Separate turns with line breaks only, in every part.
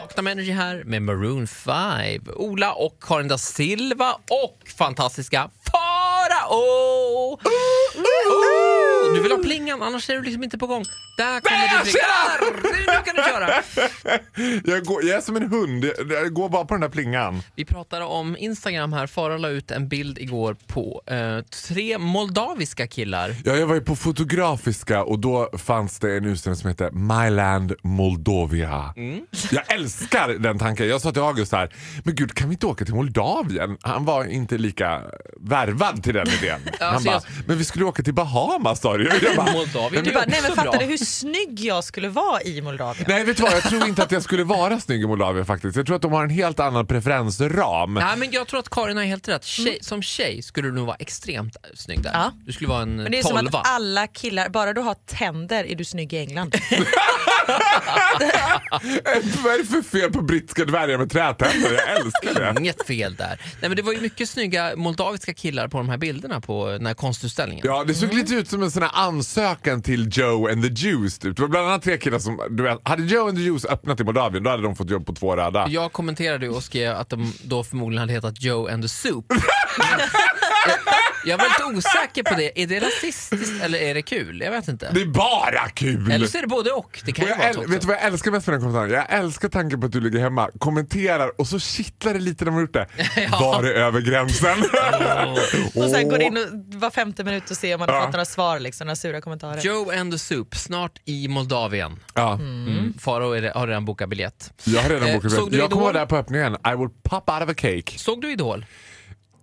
Lockdown Energy här med Maroon 5. Ola och Karin da Silva och fantastiska Farao! Du vill ha plingan, annars är du liksom inte på gång. Där kommer
Nej,
din
jag
plinga.
ser
Där, Nu kan du köra!
Jag, går, jag är som en hund, jag, jag går bara på den där plingan.
Vi pratade om Instagram här. Farao la ut en bild igår på eh, tre moldaviska killar.
Ja, jag var ju på Fotografiska och då fanns det en utställning som hette My Land Moldavia. Jag älskar den tanken. Jag sa till August här, men gud kan vi inte åka till Moldavien? Han var inte lika värvad till den idén. Han
alltså
bara,
jag-
men vi skulle åka till Bahamas sa du ju." Jag bara,
Moldavien
Du
är
bara,
ju
nej men
också
fattar
bra.
du hur snygg jag skulle vara i Moldavien?
Nej vet du vad, jag tror inte att jag skulle vara snygg i Moldavien faktiskt. Jag tror att de har en helt annan preferensram.
Nej, men jag tror att Karin har helt rätt. Tjej, Som tjej skulle du nog vara extremt snygg där.
Mm. Ja.
Du skulle vara en
Men det är som
tolva.
att alla killar, bara du har tänder är du snygg i England.
Vad är det för fel på brittiska dvärgar med trätänder? Jag älskar det.
Inget fel där. Nej, men det var ju mycket snygga moldaviska killar på de här bilderna på eh, den här konstutställningen.
Ja, det såg lite ut som en sån här ansökan till Joe and the Juice. Typ. Det var bland annat tre killar som... Du vet, hade Joe and the Juice öppnat i Moldavien, då hade de fått jobb på två röda.
Jag kommenterade ju och skrev att de då förmodligen hade hetat Joe and the Soup. Men eh, jag, jag var lite osäker på det. Är det rasistiskt eller är det kul? Jag vet inte.
Det är bara kul!
Eller så är det både och. Det kan
Och
ju
jag
vara
äl-
så
vet du
också.
vad jag älskar mest med den kommentaren? Jag älskar tanken på att du ligger hemma, kommenterar och så kittlar det lite när man har gjort det. Var det över gränsen?
Oh.
och sen går du in och var femte minut och ser om man har
Ja.
fått några svar, liksom, några sura kommentarer.
Joe and the Soup, snart i Moldavien.
ja,
Mm. Farao är- har redan bokat biljett.
jag har
Eh,
redan bokat
såg
biljett.
du
Jag kommer
Idol?
vara där på öppningen. I will pop out of a cake.
Såg du Idol?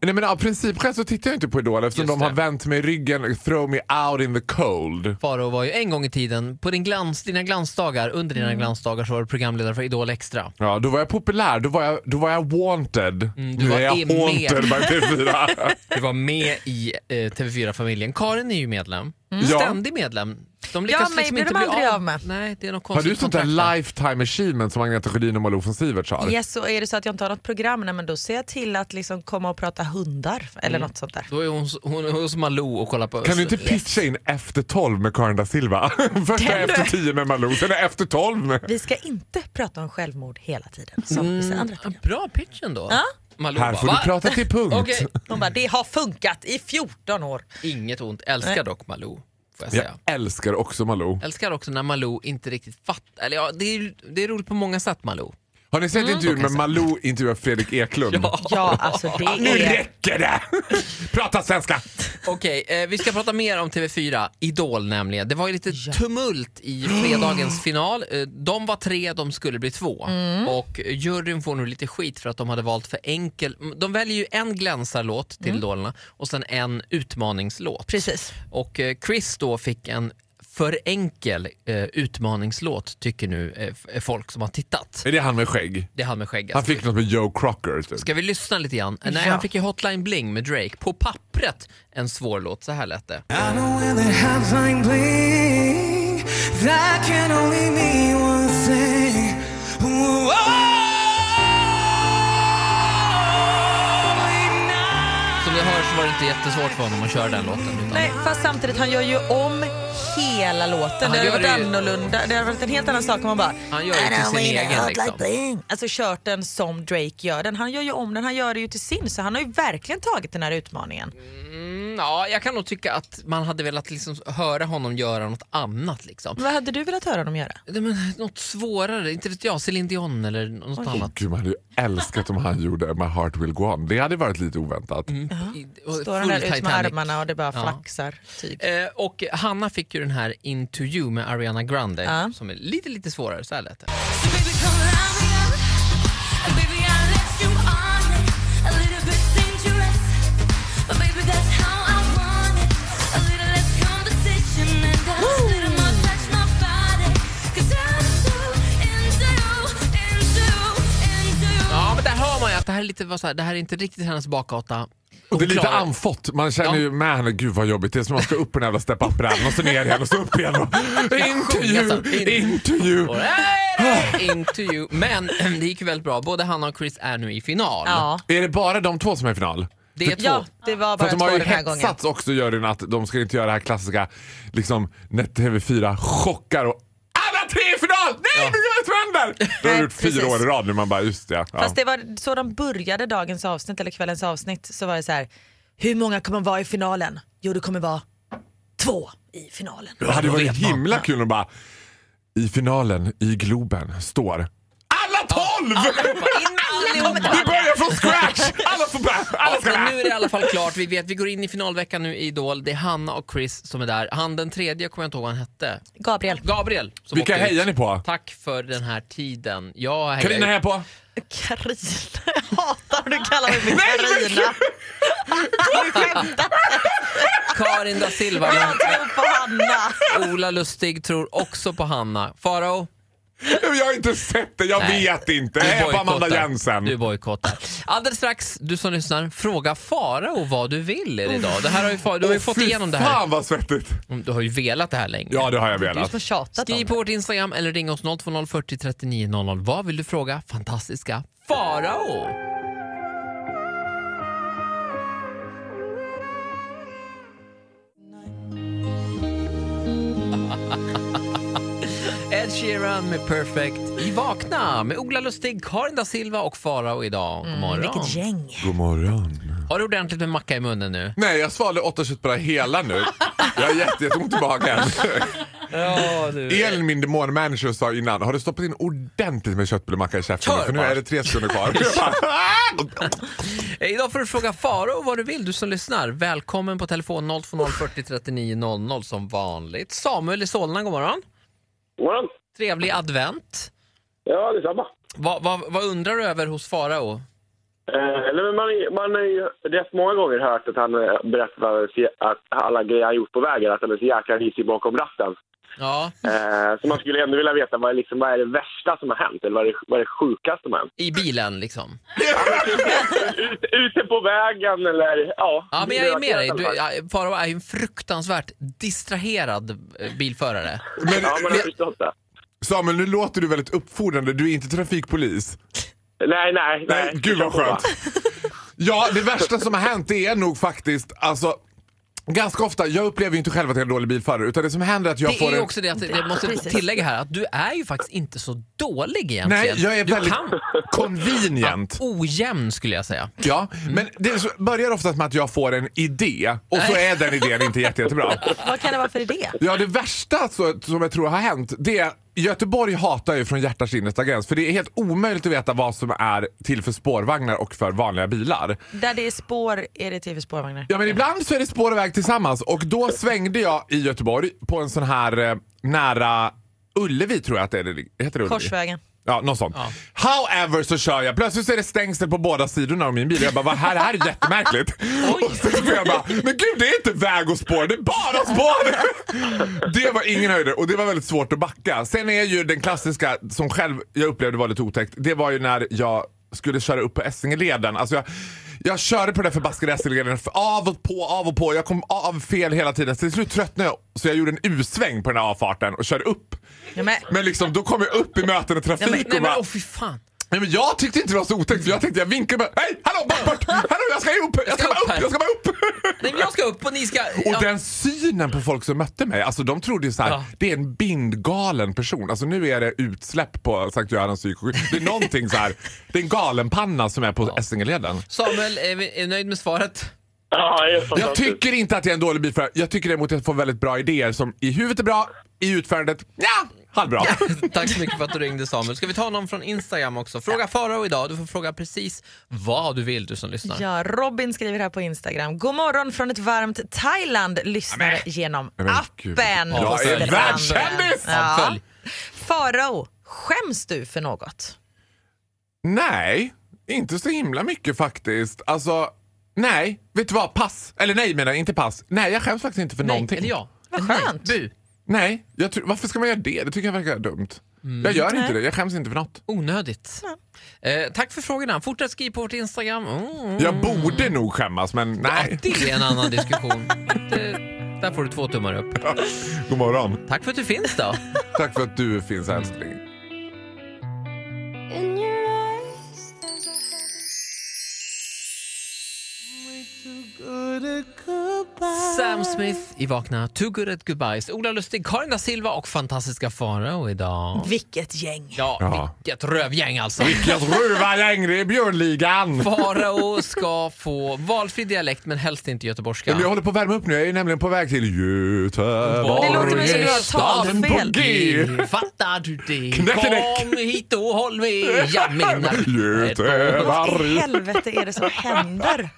Nej men av principskäl så tittar jag inte på Idol eftersom
Just
de har
det.
vänt mig i ryggen. Throw me out in the cold.
Farao var ju en gång i tiden, på din glans, dina glansdagar, under dina glansdagar så var du programledare för Idol Extra.
Ja, då var jag populär. Då var jag, då var jag wanted.
Mm, du
nu
var
är jag
i med.
haunted by TV4.
Du var med i eh, TV4-familjen. Karin är ju medlem.
Mm. ja.
Ständig medlem. De
Ja,
lyckas
mig
liksom
blir
inte
de
bli
aldrig av med.
Nej, det är något
Har
konstigt
du sånt där
kontrakt där.
lifetime achievement som Agneta Sjödin och Malou von Siverts har?
Yes, och är det så att jag inte har något program, nej, men då ser jag till att liksom komma och prata hundar eller något sånt där.
Då är hon, hon är hos Malou och kollar på...
Kan du inte pitcha in efter 12 med Karin da Silva? Först är efter 10 med Malou, sen är efter 12 med...
Vi ska inte prata om självmord hela tiden som vissa andra program.
Bra pitch ändå.
Ja.
Malou
Här
bara,
får du
"Va?"
prata till punkt.
Okej.
De bara, det har funkat i 14 år.
Inget ont. Älskar
Nej.
dock Malou, får jag
Jag
säga.
älskar också Malou.
Älskar också när Malou inte riktigt fattar. Eller ja, det är, det är roligt på många sätt Malou.
Har ni sett intervjun med
Mm. Okej, så.
Malou intervjuar Fredrik Eklund?
Ja, alltså det
Nu
är...
räcker det! Prata svenska!
Okej, eh, vi ska prata mer om TV4, Idol nämligen. Det var ju lite tumult i fredagens final. Eh, de var tre, de skulle bli två. Och juryn får nu lite skit för att de hade valt för enkel... De väljer ju en glänsarlåt till Idolerna och sen en utmaningslåt.
Precis.
Och eh, Chris då fick en för enkel eh, utmaningslåt tycker nu eh, f- folk som har tittat.
Är det han med skägg?
Det är han med skägget.
Han fick något med Joe Crocker. Typ.
Ska vi lyssna lite grann? Nej,
Ja.
han fick ju Hotline Bling med Drake. På pappret en svår låt, så här lät det.
I know when the hotline bling, that can only mean one thing. Whoa, only night.
Som ni hör så var det inte jättesvårt för honom att köra den låten. Utan
Nej, fast samtidigt, han gör ju om hela låten.
Han
Det hade
gör
varit
det ju-
annorlunda. Det hade varit en helt annan sak om man bara...
han gör det till sin egen liksom.
Alltså kört den som Drake gör den. Han gör ju om den, han gör det ju till sin. Så han har ju verkligen tagit den här utmaningen.
Mm, ja, jag kan nog tycka att man hade velat liksom höra honom göra något annat. Liksom.
Vad hade du velat höra honom göra?
Nej, Men, något svårare, inte vet jag, Céline Dion eller något annat.
Gud, man hade ju älskat om han gjorde My Heart Will Go On. Det hade varit lite oväntat.
Mm.
I- och
Står han där
full
ut med
Titanic.
armarna och det bara
Ja.
flaxar. Typ.
Eh, och Hanna fick ju den här Into You med Ariana Grande
Ja.
som är lite, lite svårare. Så här lät det.
So baby, come light me up. And baby, I'll let you on it. A little bit dangerous. But baby, that's how I want it. A little less conversation and a little more touch my body. 'Cause I'm so into, into, into.
Ja, men där hör man ju att det här är, lite, vad så här, det här är inte riktigt hennes bakgata.
Och det är
Hon
lite
klarar-
anfått. Man känner
Ja.
ju med henne, gud vad jobbigt. Det är som att man ska upp på den jävla step up och så ner igen och så upp igen. Och,
sjunga
Alltså,
så.
intervju,
In-
intervju.
Och där är det Into you. Men det gick ju väldigt bra. Både Hanna och Chris är nu i final.
Ja.
Är det bara de två som är i final?
Det är två.
ja, det
För
var bara
att de
två
har ju
den här gången.
hetsats också juryn att de ska inte göra det här klassiska liksom, när TV4 chockar och alla tre i final! allt! Nej,
Ja.
men jag vet vad händer! Då har
Nej,
du gjort fyra
precis.
år i rad nu. Man bara, just det. Ja.
Fast det var så de började dagens avsnitt eller kvällens avsnitt så var det så här. Hur många kommer vara i finalen? Jo det kommer vara två i finalen.
Det hade
Då
varit
vet man.
himla kul att bara... I finalen, i Globen, står alla tolv! Vi börjar från scratch! Alla får börja! Alla ska
Men nu
med!
är det i alla fall klart. Vi vet, vi går in i finalveckan nu i Idol. Det är Hanna och Chris som är där. Han den tredje kommer jag inte ihåg vad han hette.
Gabriel.
Gabriel. Som
Vilka
åkte ut.
hejar ni på?
Tack för den här tiden. Jag hejar
Carina hejar på.
Karina. Jag hatar när du kallar mig för Karina.
Karin da Silva.
Jag tror på Hanna.
Men Ola Lustig tror också på Hanna. Farao?
Jag har inte sett det, jag
Nej.
vet inte.
Du
Heja på
bojkottar.
Amanda Jensen.
Du bojkottar. Alldeles strax, du som lyssnar, fråga Farao vad du vill idag. Det här har ju, Farao- du har ju
Åh,
fått
fy
igenom det här.
Fan vad svettigt.
Du har ju velat det här länge.
Ja, det har jag
Du
velat.
som har tjatat om
Skriv
det.
på vårt Instagram eller ring oss 020 40 39 00. Vad vill du fråga fantastiska Farao? Ed Sheeran med Perfect i Vakna med Ola Lustig, Karin da Silva och Farao idag. God morgon.
Vilket gäng.
God morgon.
Har du ordentligt med macka i munnen nu?
Nej, jag svalde åtta köttbullar hela nu. Jag har jätte- jätteont i magen.
Ja, du.
Elin, min demonmanager, sa innan har du stoppat in ordentligt med köttbullemacka i käften?
Kör
För nu
bara.
är det tre sekunder kvar. Jag bara, "Ah!"
Eh, Idag får du fråga Faro vad du vill, du som lyssnar. Välkommen på telefon 020 40 39 00 som vanligt. Samuel i Solna, god morgon.
God morgon.
Trevlig advent.
Ja, detsamma.
Vad, vad, vad undrar du över hos Farao?
Eh, eller men man, man har ju rätt många gånger hört att han eh, berättar att, att alla grejer han gjort på vägen, att han är så jäkla risig bakom ratten.
Ja,
Eh, så man skulle ändå vilja veta vad är, liksom, vad är det värsta som har hänt, eller vad är det, vad är det sjukaste som har hänt?
i bilen liksom.
Ut, ute på vägen eller ja.
Ja, men jag är med dig.
i alla
Du,
fall.
ja, Faro är ju en fruktansvärt distraherad eh, bilförare.
Men,
Ja, man har förstått det.
Samuel, nu låter du väldigt uppfordrande. Du är inte trafikpolis.
Nej, nej, nej.
Nej, gud vad skönt. Ja, det värsta som har hänt det är nog faktiskt, alltså Ganska ofta, jag upplever ju inte själv att jag är en dålig bilförare utan det som händer är att jag
Det
får
är ju
en...
också det att jag måste
Precis.
tillägga här att du är ju faktiskt inte så dålig egentligen.
Nej, jag är
du
väldigt
kan
convenient.
ojämn skulle jag säga.
Ja,
Mm.
men det så- börjar ofta med att jag får en idé och så är den idén inte jätte, jättebra.
Vad kan det vara för idé?
Ja, det värsta så, som jag tror har hänt det är Göteborg hatar ju från hjärtats innersta gräns för det är helt omöjligt att veta vad som är till för spårvagnar och för vanliga bilar.
Där det är spår är det tv spårvagnar.
Ja, men ibland så är det spår och väg tillsammans och då svängde jag i Göteborg på en sån här eh, nära Ullevi tror jag att det är. Heter det Ullevi?
Korsvägen.
Ja, någon sån. However så kör jag. Plötsligt så är det stängsel på båda sidorna av min bil. Jag bara, vad här, det här är jättemärkligt. Och så får jag bara, men gud det är inte väg och spår, det är bara spår! Det var ingen höjdare och det var väldigt svårt att backa. Sen är ju den klassiska, som själv jag upplevde var lite otäckt, det var ju när jag skulle köra upp på Essingeleden. Alltså jag, jag körde på den där förbaskade Essingeleden för av och på, av och på. Jag kom av fel hela tiden. Så till slut tröttnade jag så jag gjorde en U-sväng på den här avfarten och körde upp.
Ja, men,
Men liksom, då kom jag upp i möten och trafik
Nej
och
men
bara,
åh fy fan.
Nej, men jag tyckte inte det var så otäckt för jag tänkte jag vinkar bara Hej! Hallå! Bort, bort! Hallå jag ska upp! Jag ska bara upp! Jag ska bara upp!
Nej men jag ska upp och ni ska...
Och den synen på folk som mötte mig, alltså de trodde ju såhär,
Ja.
det är en bindgalen person. Alltså nu är det utsläpp på Sankt Görans psyksjukhus. Det är någonting såhär, det är en galenpanna som är på Essingeleden.
Samuel, är, vi, är nöjd med svaret?
Ja, Alltså, det är
Jag
fantastiskt.
tycker inte att jag är en dålig bilförare, jag tycker däremot att jag får väldigt bra idéer som i huvudet är bra, i utförandet, ja, halvbra.
Tack så mycket för att du ringde Samuel. Ska vi ta någon från Instagram också? Fråga Farao idag. Du får fråga precis vad du vill du som lyssnar.
ja, Robin skriver här på Instagram. God morgon från ett varmt Thailand. Lyssnare genom
men gud.
appen.
Jag
på
är
Instagram.
världskändis!
Ja,
Ja.
följ.
Farao, skäms du för något?
Nej, inte så himla mycket faktiskt. Alltså, nej. Vet du vad? Pass. Eller nej menar jag, inte pass. Nej, jag skäms faktiskt inte för
Nej,
någonting.
eller ja.
Vad
Nej,
skönt.
Bu.
Nej, jag tror- varför ska man göra det? Det tycker jag verkar dumt. Jag gör inte det, jag skäms inte för något.
Onödigt. Eh, tack för frågorna. Fortsätt skriva på vårt Instagram. Mm.
Jag borde nog skämmas, men nej.
Det är en annan diskussion. Det, där får du två tummar upp.
God morgon.
Tack för att du finns då.
Tack för att du finns älskling.
In your eyes, there's a
Sam Smith i Vakna Too Good At Goodbyes. Ola Lustig, Karin da Silva och fantastiska Farao idag.
Vilket gäng.
Ja,
Ja.
vilket rövgäng alltså.
Vilket rövargäng det är i Björnligan!
Farao ska få valfri dialekt men helst inte göteborgska.
Men jag håller på att värma upp nu. Jag är nämligen på väg till Göteborg.
Det låter mig som du har
staden på
talfel.
G.
Fattar du det?
Knäckedäck.
Kom hit och håll med. Jag menar...
Vad i
Göteborg.
helvete är det som händer?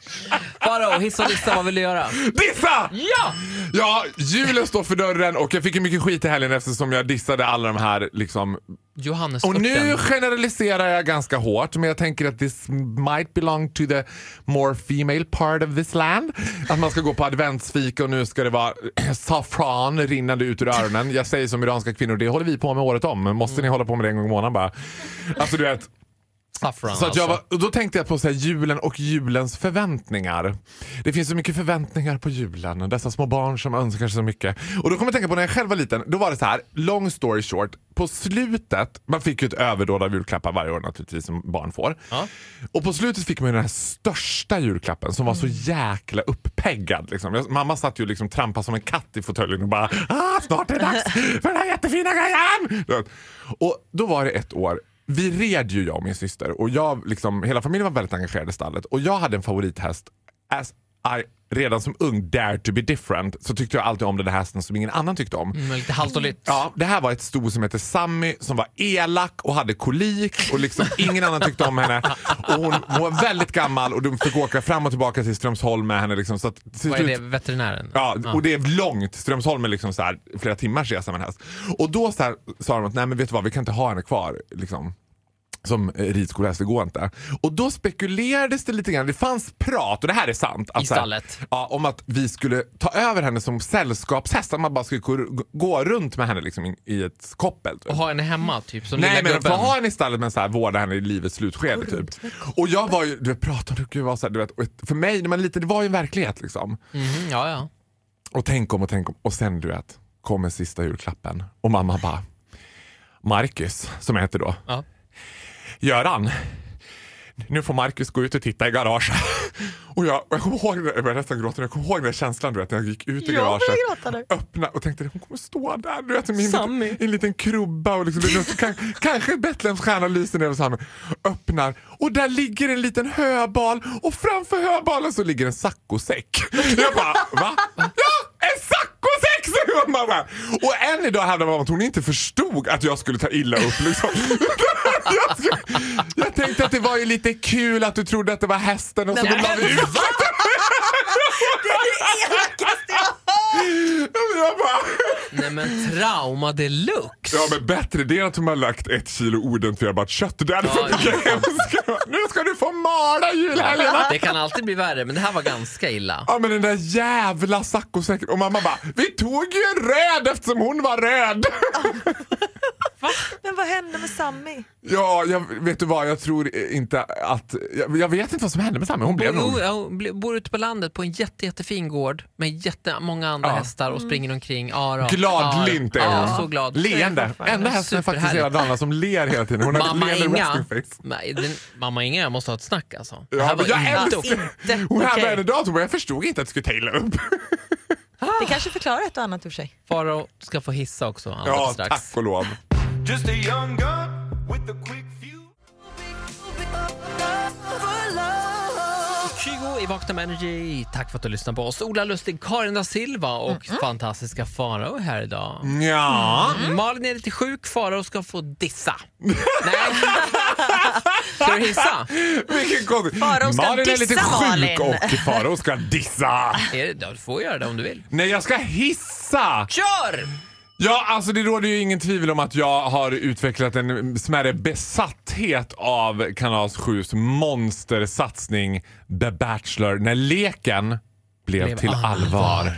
Farao, hissa och dissa, vad vill du göra?
Dissa!
Ja!
Ja, julen står för dörren och jag fick ju mycket skit i helgen eftersom jag dissade alla de här liksom.
Johannes
Och nu
Örten.
generaliserar jag ganska hårt men jag tänker att this might belong to the more female part of this land. Att man ska gå på adventsfika och nu ska det vara saffran rinnande ut ur öronen. Jag säger som iranska kvinnor, det håller vi på med året om. Men måste ni hålla på med det en gång i månaden bara? Alltså du vet.
Saffran
Så att jag
alltså.
var, och då tänkte jag på så här, julen och julens förväntningar. Det finns så mycket förväntningar på julen. Dessa små barn som önskar sig så mycket. Och då kom jag att tänka på när jag själv var liten. Då var det så här, long story short. På slutet, man fick ju ett överdåd av julklappar varje år naturligtvis som barn får.
Ja.
Och på slutet fick man ju den här största julklappen som var
Mm.
så jäkla uppeggad. Liksom. Jag, mamma satt ju och liksom trampade som en katt i fåtöljen och bara ah, snart är det dags för den här jättefina grejen. Du vet. Och då var det ett år vi red ju jag och min syster och jag, liksom, hela familjen var väldigt engagerad i stallet och jag hade en favorithäst as I, redan som ung, dare to be different, så tyckte jag alltid om den här hästen som ingen annan tyckte om.
Mm, lite halt och lytt.
Ja, det här var ett sto som hette Sammy som var elak och hade kolik och liksom ingen annan tyckte om henne. Och hon, hon var väldigt gammal och de fick åka fram och tillbaka till Strömsholm med henne. Liksom, så att, till
Vad är det?
slut-
Veterinären?
Ja, och det är långt. Strömsholm är liksom så här, flera timmars resa med en häst. Och då så här, sa de att nej men vet du vad, vi kan inte ha henne kvar. Liksom. Som eh, ridskolehäst, det går inte. Och då spekulerades det lite grann, det fanns prat, och det här är sant. Att
I
så här-
stallet.
Ja, om att vi skulle ta över henne som sällskapshäst. Att man bara skulle gå, gå runt med henne liksom i, i ett koppel. typ.
Och ha henne hemma typ som
Nej
lilla
men få
gubben.
ha henne i stallet men så här, vårda henne i livets slutskede typ. Och jag var ju, du vet prata om det, gud vad så här, du vet, och ett- för mig när man är liten, det var ju en verklighet liksom.
Mhm, ja, ja.
Och tänk om och tänk om. Och sen du vet, kommer sista julklappen. Och mamma bara, Marcus, som jag heter då.
Ja.
Göran, nu får Marcus gå ut och titta i garaget. Och jag, och jag kommer ihåg, det- jag började nästan gråta, men jag kommer ihåg den där känslan du vet, när jag gick ut i
Jag började
garaget.
gråta nu.
Öppna och tänkte hon kommer stå där du vet, med en,
Sammy.
liten, en liten krubba och liksom, du vet, kan, kanske Betlehems stjärna lyser ner över Sammy. Öppnar och där ligger en liten höbal och framför höbalen så ligger en saccosäck. Jag bara va? Ja, en saccosäck! säger hon bara. Och än idag hävdar mamma att hon inte förstod att jag skulle ta illa upp. Liksom. Jag, skulle, jag tänkte att det var ju lite kul att du trodde att det var hästen och så då la vi ut den. Jag bara,
Nej men trauma deluxe.
Ja men bättre det är att de har lagt ett kilo oidentifierbart kött. Det hade
Ja,
varit mycket hemskare. Nu ska du få mala julhelgen! va?
Det kan alltid bli värre men det här var ganska illa.
Ja men den där jävla saccosäcken. Och mamma bara, vi tog ju en röd eftersom hon var röd.
Men vad hände med Sammy?
Ja, jag, vet du vad, jag tror inte att... Jag, jag vet inte vad som hände med Sammy, hon blev nog...
Jo, jag bl- bor ute på landet på en jätte, jättefin gård med jättemånga andra
Ja.
hästar och springer omkring. Ara,
Gladlynt är
Ja,
hon.
så glad.
Leende.
Fortfarande.
Enda hästen faktiskt i hela
Superhärligt.
Dalarna som ler hela tiden. Hon har ett
Mamma
leende
Inga.
resting face.
Nej, den, mamma Inga, jag måste ha ett snack alltså. Det
Ja,
här var
men jag
illa.
älskar... Hon hävdade
Okej.
än idag att hon bara, jag förstod inte att du skulle ta illa upp.
Det kanske förklarar ett och annat i och för sig.
Farao ska få hissa också alldeles
Ja,
strax.
tack och lov.
Just a young gun with a quick fuse.
Kygo i Vakna med Energy. Tack för att du lyssnar på oss. Ola Lustig, Karin da Silva och fantastiska Farao är här idag. Mm.
Ja.
Malin är lite sjuk, Farao ska få dissa. Nej. Ska du hissa?
Vilken konstig.
Farao ska
Malin är
dissa
lite sjuk
Malin.
och Farao ska dissa.
Är det, ja, du får göra det om du vill.
Nej, jag ska hissa.
Kör!
Ja, alltså det råder ju ingen tvivel om att jag har utvecklat en smärre besatthet av Kanal 7s monstersatsning The Bachelor när leken blev,
Blev
till
allvar.
allvar.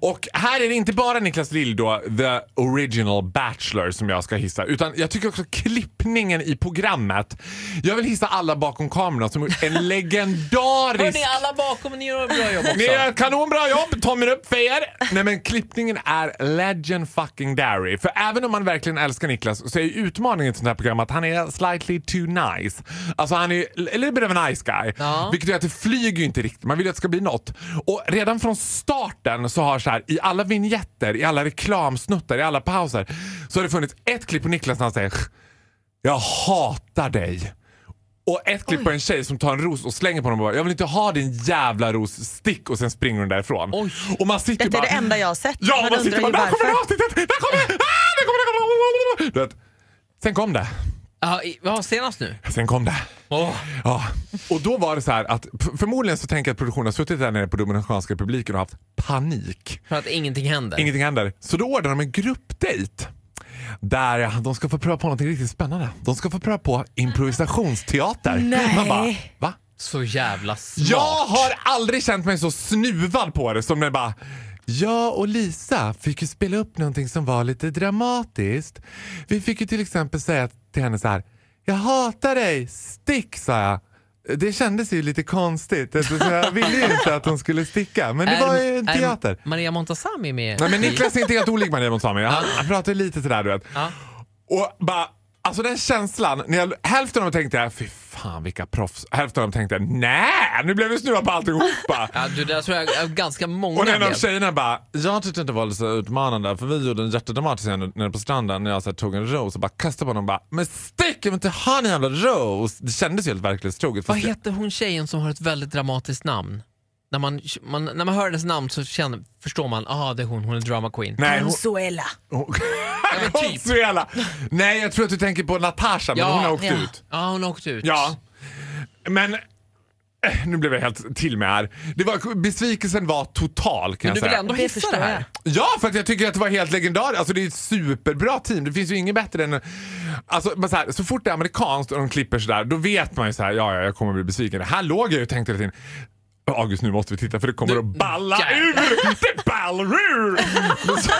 Och här är det inte bara Niklas Lill då, the original Bachelor som jag ska hissa, utan jag tycker också klippningen i programmet. Jag vill hissa alla bakom kamerorna som en legendarisk
Hörni, alla bakom, ni gör ett bra jobb
ni
också.
gör kanonbra jobb, tummen upp för er! Nej men klippningen är legend fucking dairy. För även om man verkligen älskar Niklas så är ju utmaningen i ett sånt här program att han är slightly too nice. Alltså han är a little bit of a nice guy.
Ja.
Vilket gör att det flyger ju inte riktigt. Man vill ju att det ska bli något. Och redan från starten så har så här, i alla vignetter, i alla reklamsnuttar, i alla pauser så har det funnits ett klipp på Niklas när han säger “Jag hatar dig”. Och ett klipp på en tjej som tar en ros och slänger på honom och bara “Jag vill inte ha din jävla ros, stick” och sen springer hon därifrån.
Oj.
Och man sitter
Detta är
bara,
det enda jag har sett.
Ja, man,
man undrar
sitter bara
ju
“Där kommer det
varför.
avsnittet! Där kommer det! Ah, där kommer det! Där kommer det!" Du vet, sen kom det.
Ja, i- ja, senast nu.
Sen kom det. Ja. Och då var det så här att f- förmodligen så tänker jag att produktionen har suttit där nere på Dominikanska republiken och haft panik.
För att ingenting händer.
Ingenting händer. Så då ordnar de en gruppdejt. Där ja, de ska få pröva på något riktigt spännande. De ska få pröva på improvisationsteater.
Nej.
Man bara, va?
Så jävla smart.
Jag har aldrig känt mig så snuvad på det som när jag bara jag och Lisa fick ju spela upp någonting som var lite dramatiskt. Vi fick ju till exempel säga till henne så här. Jag hatar dig, stick sa jag. Det kändes ju lite konstigt eftersom jag ville ju inte att hon skulle sticka. Men det var ju en teater.
Är Maria Montazami med?
Nej men Niklas är inte helt olik Maria Montazami. Han, han pratar lite sådär du vet.
Ja.
Och bara, alltså den känslan. När jag, hälften av dem tänkte jag, fy fan vilka proffs. Hälften av dem tänkte, nej nu blev vi snuva på alltihopa.
Ja, du, där tror jag är ganska många
Och en av
blev.
tjejerna bara, jag tyckte inte det var så utmanande för vi gjorde en jättedramatisk scen nere på stranden när jag så här, tog en ros och bara kastade på honom och bara, men stick jag vill inte ha en jävla ros. Det kändes ju helt verklighetstroget.
Vad
Fast jag-
heter hon tjejen som har ett väldigt dramatiskt namn? När man, man, när man hör hennes namn så känner, förstår man, ah det är hon, hon är drama queen.
Nej, hon,
Consuela.
hon,
men typ.
Consuela. Nej, jag tror att du tänker på Natasha, men
Ja,
hon har åkt
ja.
ut.
Ja, hon har åkt ut.
Ja, men eh, nu blev jag helt till mig här. Det var, besvikelsen var total kan
Men du
jag
vill
säga.
ändå
Det
hissa
förstår
det här?
jag.
Ja, för att jag tycker att det var helt legendariskt. Alltså det är ett superbra team. Det finns ju inget bättre än... Alltså, men så, här, så fort det är amerikanskt och de klipper sådär, då vet man ju så här, ja, ja, jag kommer bli besviken. Här låg jag ju och tänkte hela tiden, August nu måste vi titta för det kommer
Nu-
att balla
Jävlar.
ur! Det ballar ur! Men så,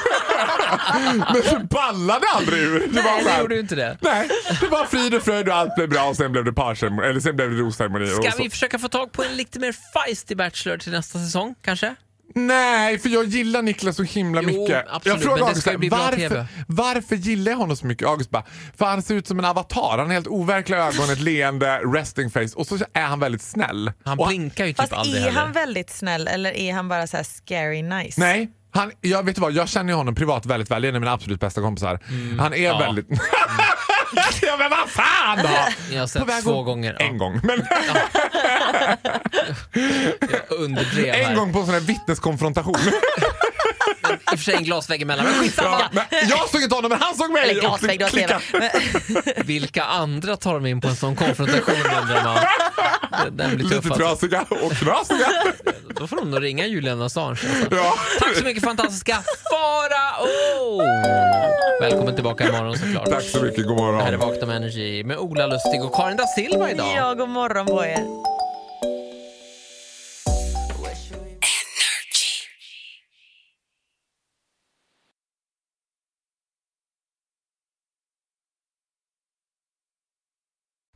men så ballade aldrig ur. Det var
Nej,
så
det
här-
gjorde ju inte det.
Nej, det var frid och fröjd och allt blev bra och sen blev det parceremoni, eller sen blev det rosceremoni. och
Ska
så-
vi försöka få tag på en lite mer feisty Bachelor till nästa säsong, kanske?
Nej, för jag gillar Niklas så himla
Jo,
mycket.
absolut,
jag frågade
men det
August
ska ju bli bra
varför,
TV.
varför gillar jag honom så mycket? August bara, för han ser ut som en avatar. Han har helt overkliga ögon, ett leende, resting face och så är han väldigt snäll.
Han
och
blinkar ju typ
Fast
aldrig
är
heller.
han väldigt snäll eller är han bara så här scary nice?
Nej, han, jag, vet du vad, jag känner ju honom privat väldigt väl. Det är en av mina absolut bästa kompisar.
Mm.
Han är väldigt... ja men vad fan då!
Jag har
På väg
sett två
att-
gånger.
En gång. Men
Jag underdrev här.
en gång på en sån här vittneskonfrontation.
I och för sig en glasvägg emellan, men skitsamma.
ja, men jag såg inte honom men han såg mig!
Eller
och
glasvägg, du har
klickade.
TV. Men,
Vilka andra tar de in på en sån konfrontation undrar man. Den- Den blir tuff
Lite
alltså.
trasiga och knasiga.
Då får de nog ringa Julian Assange. Alltså.
Ja.
Tack så mycket fantastiska Farao! Välkommen tillbaka imorgon såklart.
Tack så mycket, god
Det här är
morgon.
Vakna med Energy med Ola Lustig och Karin da Silva idag.
ja, god morgon på er.